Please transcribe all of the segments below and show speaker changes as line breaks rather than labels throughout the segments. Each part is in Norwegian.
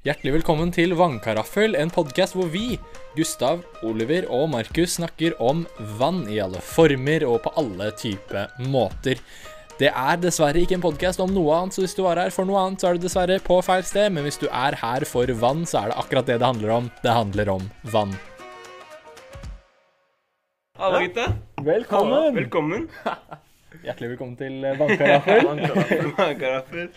Hjertelig velkommen til Vannkaraffel, en podkast hvor vi, Gustav, Oliver og Markus snakker om vann i alle former og på alle typer måter. Det er dessverre ikke en podkast om noe annet, så hvis du var her for noe annet, så er du dessverre på feil sted, men hvis du er her for vann, så er det akkurat det det handler om. Det handler om vann.
Hallo, gutta.
Velkommen!
Velkommen.
Hjertelig velkommen til eh, Vannkaraffel.
Karaffer.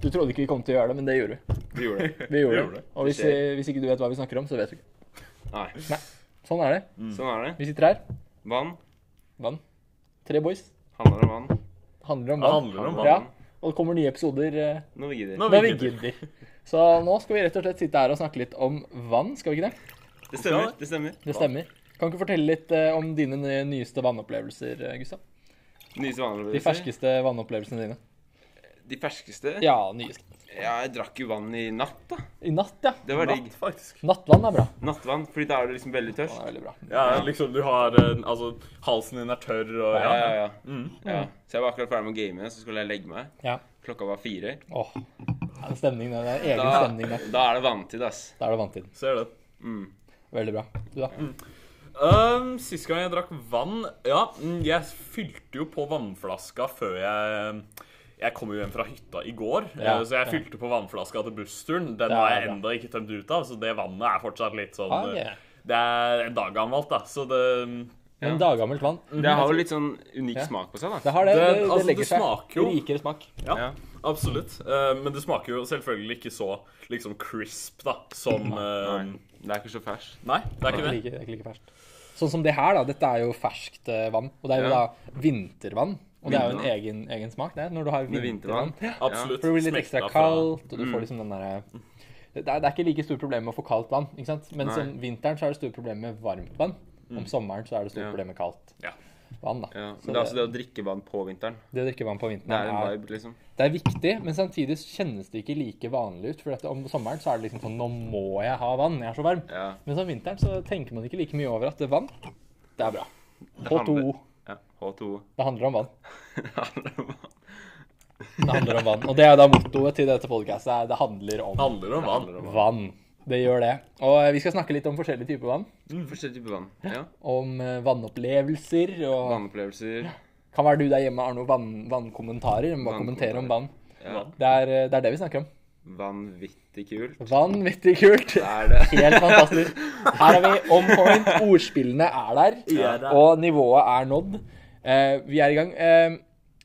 Du trodde ikke vi kom til å gjøre det, men det gjorde vi.
Du gjorde det.
Vi gjorde
gjorde
det.
det.
Og hvis, hvis ikke du vet hva vi snakker om, så vet du ikke.
Nei,
Sånn er det.
sånn er det.
Vi sitter her.
Vann
Vann. Tre boys.
handler om vann.
Handler om
Det
vann.
handler om
vann.
Ja, og det kommer nye episoder eh,
Nå gidder
Nå-
vi.
når vi
gidder.
gidder. Så nå skal vi rett og slett sitte her og snakke litt om vann, skal vi ikke det?
Det stemmer. det stemmer.
Det stemmer. Kan ikke fortelle litt eh, om dine nye- nyeste vannopplevelser, eh, Gustav?
Nye vaner.
De ferskeste vannopplevelsene dine.
De ferskeste?
Ja, nyeste.
Ja, jeg drakk jo vann i natt, da.
I natt, ja.
Det var digg.
Natt, faktisk.
Nattvann er bra.
Nattvann. Fordi da er du liksom veldig
Den
tørst.
er veldig bra.
Ja, liksom du har eh, Altså, halsen din er tørr og
Ja,
ja.
ja, ja.
Mm.
ja. Så jeg var akkurat ferdig med å game, så skulle jeg legge meg.
Ja.
Klokka var fire.
Åh. Det er en stemning der. Det er egen
Da,
stemning der.
da er det vanntid, ass.
Da er det vanntid.
Ser det.
Veldig bra. Du, da?
Mm. Um, Sist gang jeg drakk vann Ja, mm, jeg fylte jo på vannflaska før jeg Jeg kom jo hjem fra hytta i går,
Ja,
eh, så jeg
ja.
fylte på vannflaska til bussturen. Den
Det
har
er
jeg
bra.
enda ikke tømt ut av, så det vannet er fortsatt litt sånn
Ah,
eh,
ja.
Det er en dag gammelt, da, så det mm,
Men daggammelt vann.
Det har jo litt sånn unik
Mhm. Ja.
smak på seg, da.
Det har det. Det,
Det-
det,
altså, det
legger seg.
smaker jo.
Rikere smak.
Ja,
Ja.
absolutt. Eh, men det smaker jo selvfølgelig ikke så liksom crisp, da, som eh,
Nei, det er ikke så ferskt.
Nei, det er
Det er
ikke det.
ikke like, det er ikke like ferskt. Sånn som det her, da. Dette er jo ferskt eh, vann. Og det er jo
Ja.
da vintervann. Og det er jo en egen,
Vintervann.
egen smak, det, når du har
Med
vintervann.
vintervann.
Absolutt.
For det blir litt ekstra
Smekta fra-
kaldt, og du
Mm.
får liksom den derre det, er- det er ikke like stort problem med å få kaldt vann, ikke sant? men
Nei. Mm.
som vinteren så er det stort problem med varmt vann. Om sommeren så er det stort
Ja.
problem med kaldt
Ja.
vann, da.
Ja.
Så
Men det er altså det å drikke vann på vinteren.
det å drikke vann på
Det er
vinteren
en
er,
vibe, liksom.
det er viktig, men samtidig så kjennes det ikke like vanlig ut. For dette, om sommeren så er det liksom sånn Nå må jeg ha vann, jeg er så varm.
Ja.
Men som vinteren så tenker man ikke like mye over at vann, det er bra. H2O.
handler- ja. H2O.
Det handler om vann.
Det handler om vann.
Det handler om vann. Og det er da mottoet til dette podcastet. er Det handler om
Handler om vann.
vann. Det gjør det. Og eh, vi skal snakke litt om forskjellige typer vann.
Forskjellige typer Mm, vann. Ja.
Om eh, vannopplevelser og
Vannopplevelser.
Kan være du der hjemme har noen vann, vannkommentarer. Må bare kommentere om vann.
Ja.
Det er, eh, det er det vi snakker om.
Vanvittig kult.
Vanvittig kult.
Det er det.
Helt fantastisk. Her er vi on point. Ordspillene er der,
Ja da.
og nivået er nådd. Eh, vi er i gang. Eh,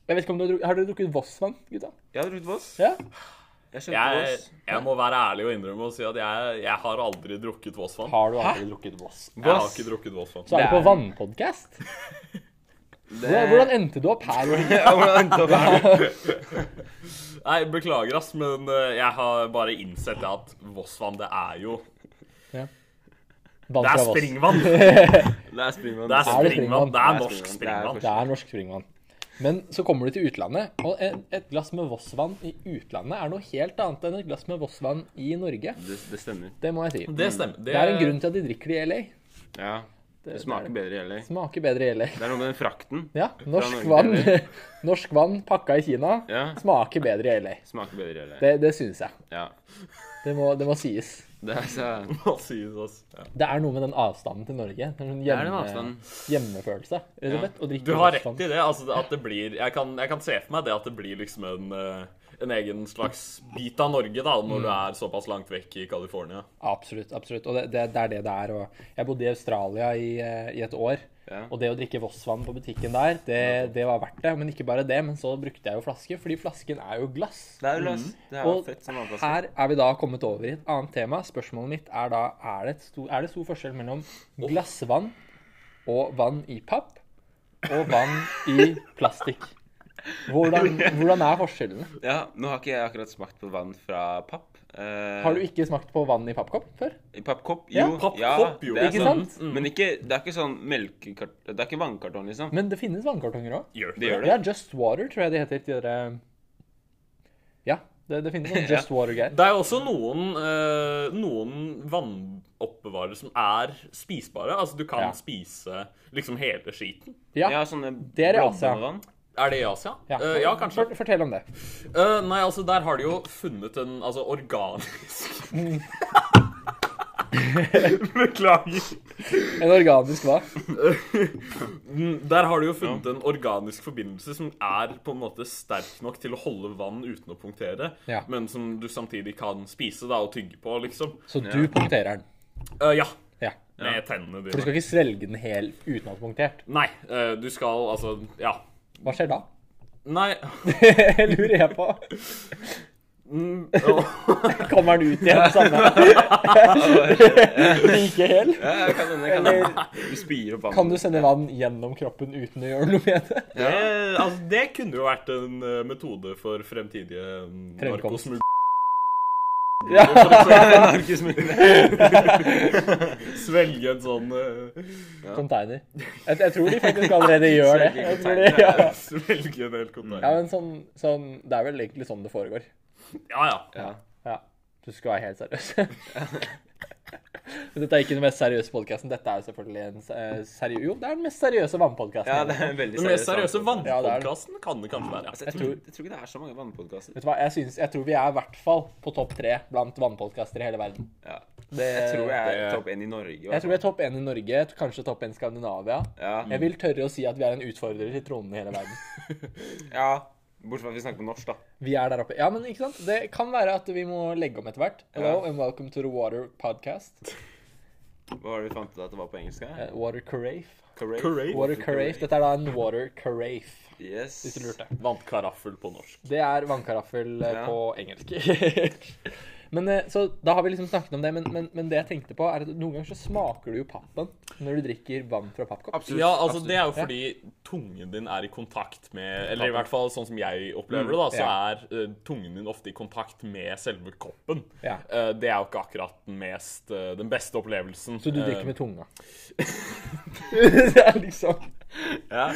jeg vet ikke om du har, druk- har dere drukket Voss-vann, gutta?
Jeg har drukket Voss.
Ja?
Jeg skjønte
Jeg,
Voss.
jeg må være ærlig og innrømme og si at jeg, jeg har aldri drukket Voss-vann.
Har du aldri drukket Voss?
Jeg har ikke drukket Voss-vann.
Så er
Det
du på
er-
vannpodkast? Hvordan hvordan endte du opp her?
Nei, beklager, ass, men eh, jeg har bare innsett det at Voss-vann, det er jo
Vann
Det er
fra Voss.
springvann!
Det er springvann.
Det er
det springvann?
springvann. Det er
Det er
norsk
springvann.
springvann.
Det er norsk springvann. Men så kommer du til utlandet, og en- et glass med Voss-vann i utlandet er noe helt annet enn et glass med Voss-vann i Norge.
Det, det stemmer.
Det må jeg si.
Det stemmer.
Det er en grunn til at de drikker det i LA.
Ja. Det smaker bedre i LA.
Smaker bedre i LA.
Det er noe med den frakten.
Ja, norsk
Norge,
vann,
eller?
norsk vann pakka i Kina
Ja.
smaker bedre i LA.
Smaker bedre i LA.
Det, det syns jeg.
Ja.
Det må, det må sies.
Det er så
Hva sies, ass? Ja.
Det er noe med den avstanden til Norge. Det er sånn
er den
hjemme,
avstanden.
hjemmefølelse. Rett og slett. Å drikke
Du har
norsk vann.
rett i det. altså at det blir, jeg, kan, jeg kan se for meg det at det blir liksom en, eh, en egen slags bit av Norge da, når du er såpass langt vekk i California.
Absolutt. absolutt. Og det, det, det er det det er. Og jeg bodde i Australia i, eh, i et år.
Ja.
Og det å drikke Voss-vann på butikken der, det, det var verdt det. Men ikke bare det, men så brukte jeg jo flaske, fordi flasken er jo glass.
Det er jo løs. Det er jo
Mm. Og
fett som avplasser.
her er vi da kommet over i et annet tema. Spørsmålet mitt er da er det, et stor, er det stor forskjell mellom glassvann og vann i papp og vann i plastikk? Hvordan, hvordan er forskjellene?
Ja, nå har ikke jeg akkurat smakt på vann fra papp. Eh,
Har du ikke smakt på vann i pappkopp før?
I Pappkopp?
Ja,
Jo.
pappkopp, jo.
det er
Ikke
sånn.
sant? Mm.
Men ikke, det er ikke sånn melkekart... Det er ikke vannkartong, liksom.
Men det finnes vannkartonger òg.
Gjør
Det gjør
Ja, Just Water tror jeg de heter. De der, eh, ja, det, det finnes noen Just Water-greier.
Det er jo også noen, eh, noen vannoppbevarere som er spisbare. Altså, du kan
Ja.
spise liksom hele skiten.
Ja,
Ja, sånne
Det altså. er i
blobber
Asia.
med vann.
Er det i Asia?
Ja,
Eh, ja kanskje.
Fort- Fortell om det.
Eh, nei, altså, der har de jo funnet en altså, organisk Beklager.
En organisk hva?
Mm, Der har de jo funnet en organisk forbindelse som er på en måte sterk nok til å holde vann uten å punktere,
Ja.
men som du samtidig kan spise da og tygge på, liksom.
Så du punkterer den.
Eh, ja.
Ja.
Med tennene
For du
dine.
skal ikke svelge den hel uten at den er punktert.
Nei, eh, du skal altså Ja.
Hva skjer da?
Nei
Det lurer jeg på.
mm, åh.
Kommer den ut igjen samme? Like hel?
Ja, jeg kan hende. kan
Eller-
hende. Du spyr opp vann.
Kan du sende vann gjennom kroppen uten å gjøre noe med det?
det, altså, det kunne jo vært en eh, metode for fremtidige mm,
Fremkomst.
narkosmugler.
Narkosmugler.
Svelge en sånn eh,
Container. Jeg, jeg tror de faktisk allerede gjør det. Jeg tror de, ja.
Svelge en hel
ja,
konteiner.
men sånn, sånn Det er vel egentlig sånn det foregår.
Ja, ja.
Ja.
Ja. Du skal være helt seriøs. Men dette er ikke den mest seriøse podkasten. Dette er jo selvfølgelig en eh, seriø... Jo, det er den mest seriøse
ja,
vannpodkasten.
det er en veldig
Den mest seriøse
Ja,
vannpodcast.
det er det.
vannpodkasten kan det kanskje være.
Altså, jeg, tror, jeg tror ikke det er så mange vannpodkaster.
Vet du hva, jeg, synes, jeg tror vi er i hvert fall på topp tre blant vannpodkaster i hele verden.
Ja.
Det,
Jeg tror jeg er
det-
topp én i Norge. i
jeg
hvert
tror vi er topp én i Norge, kanskje topp én i Skandinavia.
fall. Ja.
Jeg vil tørre å si at vi er en utfordrer til tronen i hele verden.
ja. Bortsett fra at vi snakker på norsk, da.
Vi er der oppe. Ja, men ikke sant? Det kan være at vi må legge om etter hvert. Hello and welcome to the Water Podcast.
Hva var det vi fant ut at det var på engelsk? her?
Eh, water Carafe.
Carafe.
Carafe.
Water Carafe. Dette er da en Water Carafe,
Yes.
hvis du lurte.
Vannkaraffel på norsk.
Det er vannkaraffel eh,
Ja.
på engelsk. men eh, Så da har vi liksom snakket om det, men, men, men det jeg tenkte på, er at noen ganger så smaker du jo pappen når du drikker vann fra pappkopp.
Absolutt.
Ja, altså
absolutt.
Det er jo fordi tungen din er i kontakt med Eller i hvert fall sånn som jeg opplever det, da, så
Ja.
er eh, tungen din ofte i kontakt med selve koppen.
Ja.
Eh, det er jo ikke akkurat den, mest, eh, den beste opplevelsen. Eh,
Så du drikker med tunga. det er liksom
Ja.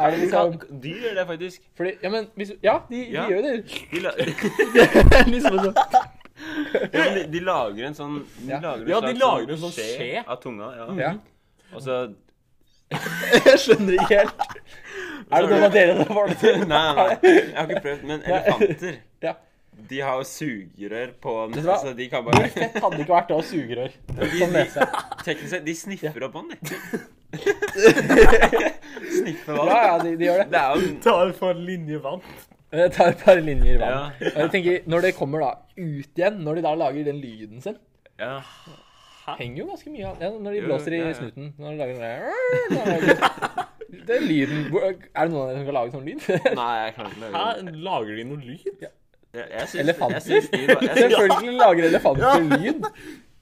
Er det liksom
De gjør det faktisk.
Fordi Ja, men hvis Ja, de, de
Ja.
gjør det.
De, la
det er liksom sånn
ja, men de, de lager en sånn De
Eh! Ja.
lager en
Ja, de
slags
lager en sånn skje.
av tunga. Ja.
Ja.
Og så
Jeg skjønner ikke helt. Er det noen av dere som får det til?
Nei, nei, jeg har ikke prøvd, men elefanter
Ja.
De har jo sugerør på
Vet du hva?
Altså, de kan
Hvor
bare
fett hadde det ikke vært å ha sugerør Sånn på nesa?
Teknisk sett, de sniffer opp vann, de. sniffer vann.
Ja, ja, de, de gjør det.
Det er jo
Tar for linjevann.
Jeg tar et par linjer i vann.
Ja.
Og jeg tenker, Når det kommer da ut igjen, når de da lager den lyden sin
ja.
Henger jo ganske mye av ja, Når de
Jo,
blåser i
ja, ja.
snuten. Når de lager den der Det er lyden Hvor- Er det noen av dere som kan lage sånn lyd?
Nei, jeg kan ikke lage
Her lager de noe lyd.
det. Jeg- jeg syns-
Elefanter?
Jeg syns de var- jeg syns-
Selvfølgelig lager elefanter lyd.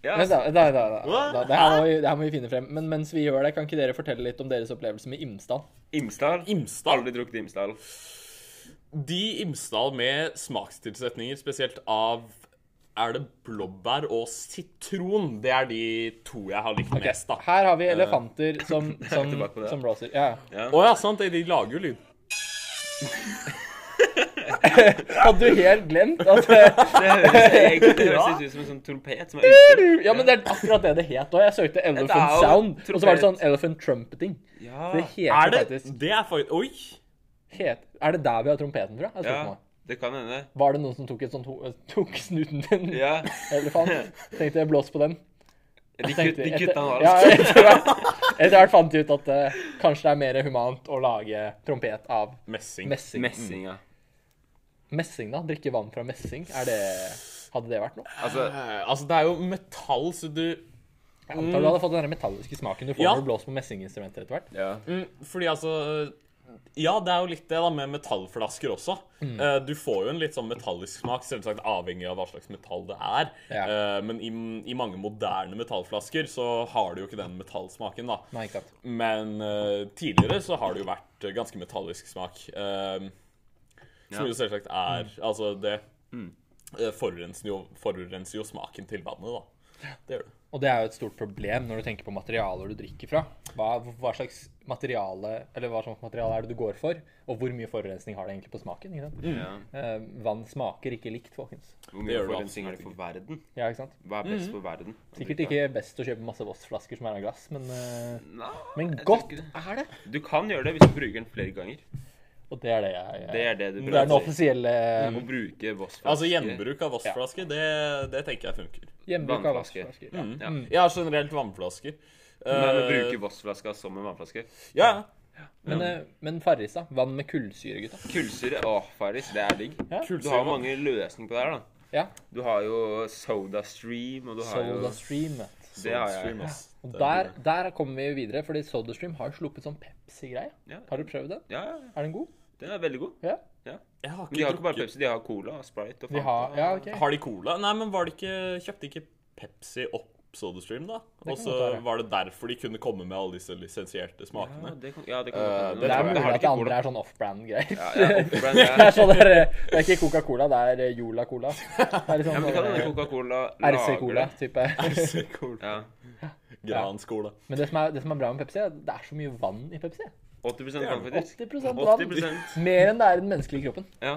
ja,
Men da, da, da, da, da, det, her må vi, det her må vi finne frem. Men mens vi gjør det, kan ikke dere fortelle litt om deres opplevelse med Imsdal?
Imsdal.
Imsdal.
Aldri drukket Imsdal.
De Imsdal med smakstilsetninger, spesielt av Er det blåbær og sitron? Det er de to jeg har likt mest, da.
Her har vi elefanter som, som,
Eh. tilbake på det.
som blåser. Ja.
Å ja, sant. De lager jo lyd.
Hadde du helt glemt at eh,
Det høres egentlig det høres litt ut som en sånn trompet som er ute.
Ja, men det er akkurat det det het òg. Jeg søkte
Dette er
Elephant
jo
Sound, og så var det
trompet. Ah.
sånn Elephant Trumpeting.
Ja.
Det
Er
heter
det
faktisk
Det er faktisk Oi!
het, Er det der vi har trompeten fra? Jeg spurte
ja.
meg.
Det kan hende.
Var det noen som tok, et sånt, ho- tok snuten til en
Ja.
elefant? Tenkte jeg blås på den.
De, kut,
Tenkte,
de
etter-
kutta han av.
Ja, etter hvert- etter hvert fant de ut at eh, kanskje det er mer humant å lage trompet av
Messing.
Messing.
Messing, ja.
Mm. Messing, da? Drikke vann fra messing? Er det Hadde det vært noe?
Altså,
Eh, Altså, det er jo metall, så du
Jeg antar du hadde fått den der metalliske smaken du får
Ja.
når du blåser på messinginstrumenter etter hvert.
ja.
mm, Fordi altså Ja, det er jo litt det da med metallflasker også. Eh, Du får jo en litt sånn metallisk smak, selvsagt avhengig av hva slags metall det er.
Ja.
Eh, Men i, i mange moderne metallflasker så har du jo ikke den metallsmaken, da.
Nei, ikke sant.
Men eh, tidligere så har det jo vært eh, ganske metallisk smak. eh, som
Ja.
jo selvsagt er Altså, det eh, forurenser, jo, forurenser jo smaken til vannet, da. Det gjør det.
Og det er jo et stort problem når du tenker på materialer du drikker fra. Hva, hva slags materiale, eller hva slags materiale er det du går for, og hvor mye forurensning har det egentlig på smaken. Ikke sant?
Ja.
Eh, vann smaker ikke likt, folkens.
Hvor
Det
mye
gjør det
forurensning er det
absolutt
for verden?
Ja, ikke sant?
Hva er best for verden?
Mm. Sikkert ikke best å kjøpe masse Voss-flasker som er av glass, men, eh,
Nei,
men
jeg tror
godt
ikke det.
er det.
Du kan gjøre det hvis du bruker den flere ganger.
Og det er det jeg
Det er Mm. det du
Mm. Det er den
prøver å si.
offisielle eh,
Å bruke Voss-flasker.
Altså gjenbruk av Voss-flasker, det, det tenker jeg funker.
hjemmebruk av
Vannflasker. Mm.
Voss-flasker.
Ja. Ja.
Mm.
Jeg har generelt vannflasker.
Men
Eh,
bruke Voss-flaska som en vannflaske.
Ja,
Men, eh, men Farris, da? Vann med kullsyre, gutta?
Kullsyre og Farris, det er digg.
Ja.
Du har mange løsninger på det her, da.
Ja.
Du har jo SodaStream, og du har jo
SodaStream. vet du.
Det har jeg.
Stream, ass.
Og
Det er
der, der kommer vi jo videre, fordi SodaStream har jo sluppet sånn Pepsi-greie.
Ja.
Har du prøvd den?
Ja, ja,
Er den god?
den er veldig god.
Ja.
Ja.
Jeg har
Men de
ikke,
har ikke bare
drukket-
Pepsi, de har Cola og Sprite og
De har, ja, ok.
Har de cola? Nei, men var det ikke, kjøpte ikke Pepsi opp SodaStream, da?
kan
Og så
godt være.
var det derfor de kunne komme med alle disse lisensierte
Ja,
smakene.
det kan, ja, det kan
Eh,
godt hende.
det
Det
tror
er
jeg.
mulig
har
at
de ikke
det
Cola.
andre er sånn off-brand-greier.
Ja, ja, off-brand, ja.
det, er sånn der, eh, det er ikke Coca-Cola, det er eh, Jola-Cola. Det er litt
Ja, men
sånn
det kan
sånn,
hende
eh,
Coca-Cola
RC-Cola, type.
Ja.
Ja.
Granskola.
Men det som, er, det som er bra med Pepsi, er at det er så mye vann i Pepsi.
80 vann, faktisk.
80 vann.
80
Mer enn det er i den menneskelige kroppen.
Ja.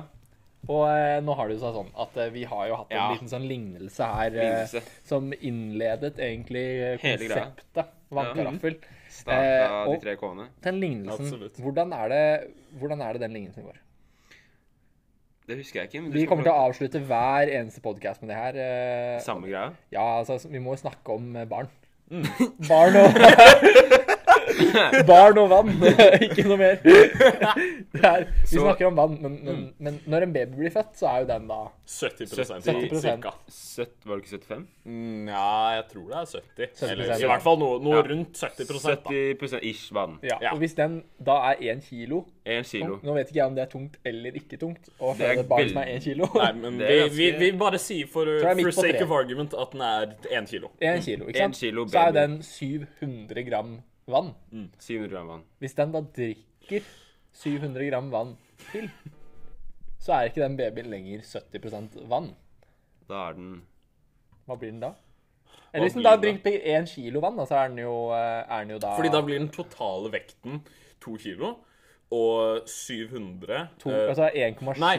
Og eh, nå har det jo seg sånn at eh, vi har jo hatt en
Ja.
liten sånn lignelse her eh,
Lignelse.
som innledet egentlig eh,
Hele greia.
konseptet vannkaraffel.
Starta
Eh,
de
og-
tre K-ene.
Den lignelsen,
Absolutt.
hvordan er, det, hvordan er det den lignelsen går?
Det husker jeg ikke. Men du
Vi
skal
kommer til
få-
å avslutte hver eneste podkast med det her. eh,
Samme greia.
Ja, altså, vi må jo snakke om eh, barn.
Mm.
Barn og Barn og vann, ikke noe mer. Det er, vi
Så- Mm.
snakker om vann, men, men, men når en baby blir født, så er jo den da
70,
70%.
cirka.
Søtt, var det ikke 75?
Nja, jeg tror det er 70. Eller
70%.
i hvert fall noe, noe
Ja.
rundt 70 da.
70 ish vann.
ja.
Ja.
Og hvis den da er én kilo
Én kilo.
Nå vet ikke jeg om det er tungt eller ikke tungt å
Det er
føde et barn som er
veldig-
én kilo.
Nei, men
Det
vi,
er
vi,
ganske-
vi bare sier for,
jeg er midt
for
på
sake
tre.
of argument at den er 1 kilo.
Én kilo, ikke
En
sant?
kilo
så er jo
baby.
den 700 gram vann.
700 gram vann.
Hvis den da drikker 700 gram vann til, så er ikke den babyen lenger 70 vann.
Da er den
Hva blir den da? Eller hvis den
blir
da
den
drikker én kilo vann, da, så er den jo, eh, er den jo da
Fordi da blir den totale vekten 2 kilo og 700
to,
eh,
Altså 1,7
Nei,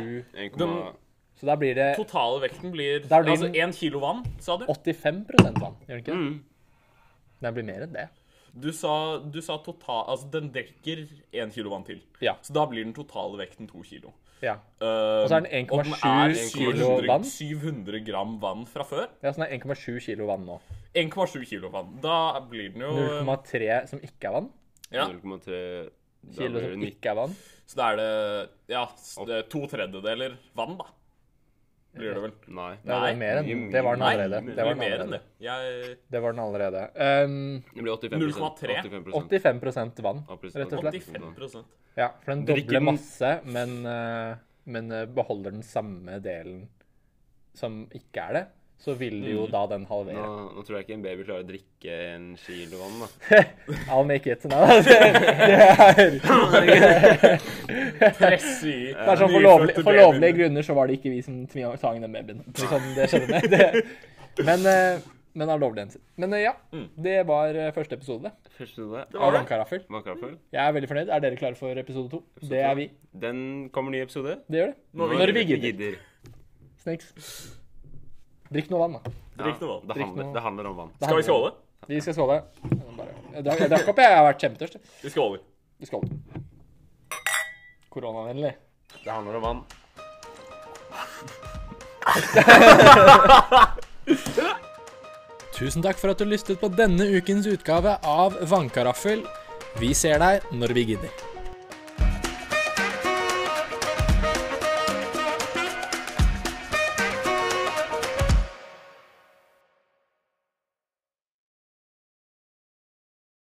1,7
Den-
Så da blir det
totale vekten blir,
Der blir
Altså
den-
1 kilo vann, sa du?
85 vann, gjør den ikke det?
Mm.
Den blir mer enn det.
Du sa, du sa total... Altså, den drikker 1 kilo vann til.
Ja.
Så da blir den totale vekten 2 kilo.
ja.
Eh,
Og så er den 1,7 kilo vann.
700 gram vann fra før.
Ja, så den er 1,7 kilo vann nå.
1,7 kilo vann. Da blir den jo
0,3 som ikke er vann.
ja,
0,3 Da
Kilo
blir det
som
90.
ikke er vann.
Så da er det ja, s- det er to tredjedeler vann, da. Blir det vel.
Nei.
Ja, det, er
Nei.
mer enn,
Mye,
det var den
Nei,
allerede.
det
Det var
blir
den
mer enn
allerede.
det. Jeg,
Det var den allerede. Ehm,
Det blir 85
0,3.
85
85 vann,
Ja,
rett
precis.
og slett.
85
Ja, for den
Drikker
dobler
den-
masse, men, eh, men eh, beholder den samme delen som ikke er det. Så vil jo da den
Nå,
halvere.
nå tror jeg ikke en baby klarer å drikke en kilo vann, da.
I'll make it. Nei, da, det er
Press i
det er sånn for,
nyfødte
lovlig, for
babyer.
lovlige grunner så var det ikke vi som tvinga- tvang den babyen. Det er Sånn det skjedde med. Det. Men, eh, men av lovlig hensyn. Men eh, ja, det var eh, første episode
Første du det?
av Vannkaraffel.
Vannkaraffel.
Jeg er veldig fornøyd. Er dere klare for episode to? Det er vi.
Den kommer ny episode.
Det gjør det. Når vi gidder.
gidder.
Snakes. Drikk noe vann, da.
Drikk noe vann.
Det
Drikk
handler,
noe-
det handler om vann.
Det
Skal vi
handler om-
skåle?
Vi skal skåle. Bare- Jeg drakk- jeg drakk opp, jeg. Jeg har vært kjempetørst. jeg.
Vi skåler.
Vi skåler. Koronavennlig.
Det handler om vann.
Tusen takk for at du lystet på denne ukens utgave av Vannkaraffel. Vi ser deg når vi gidder.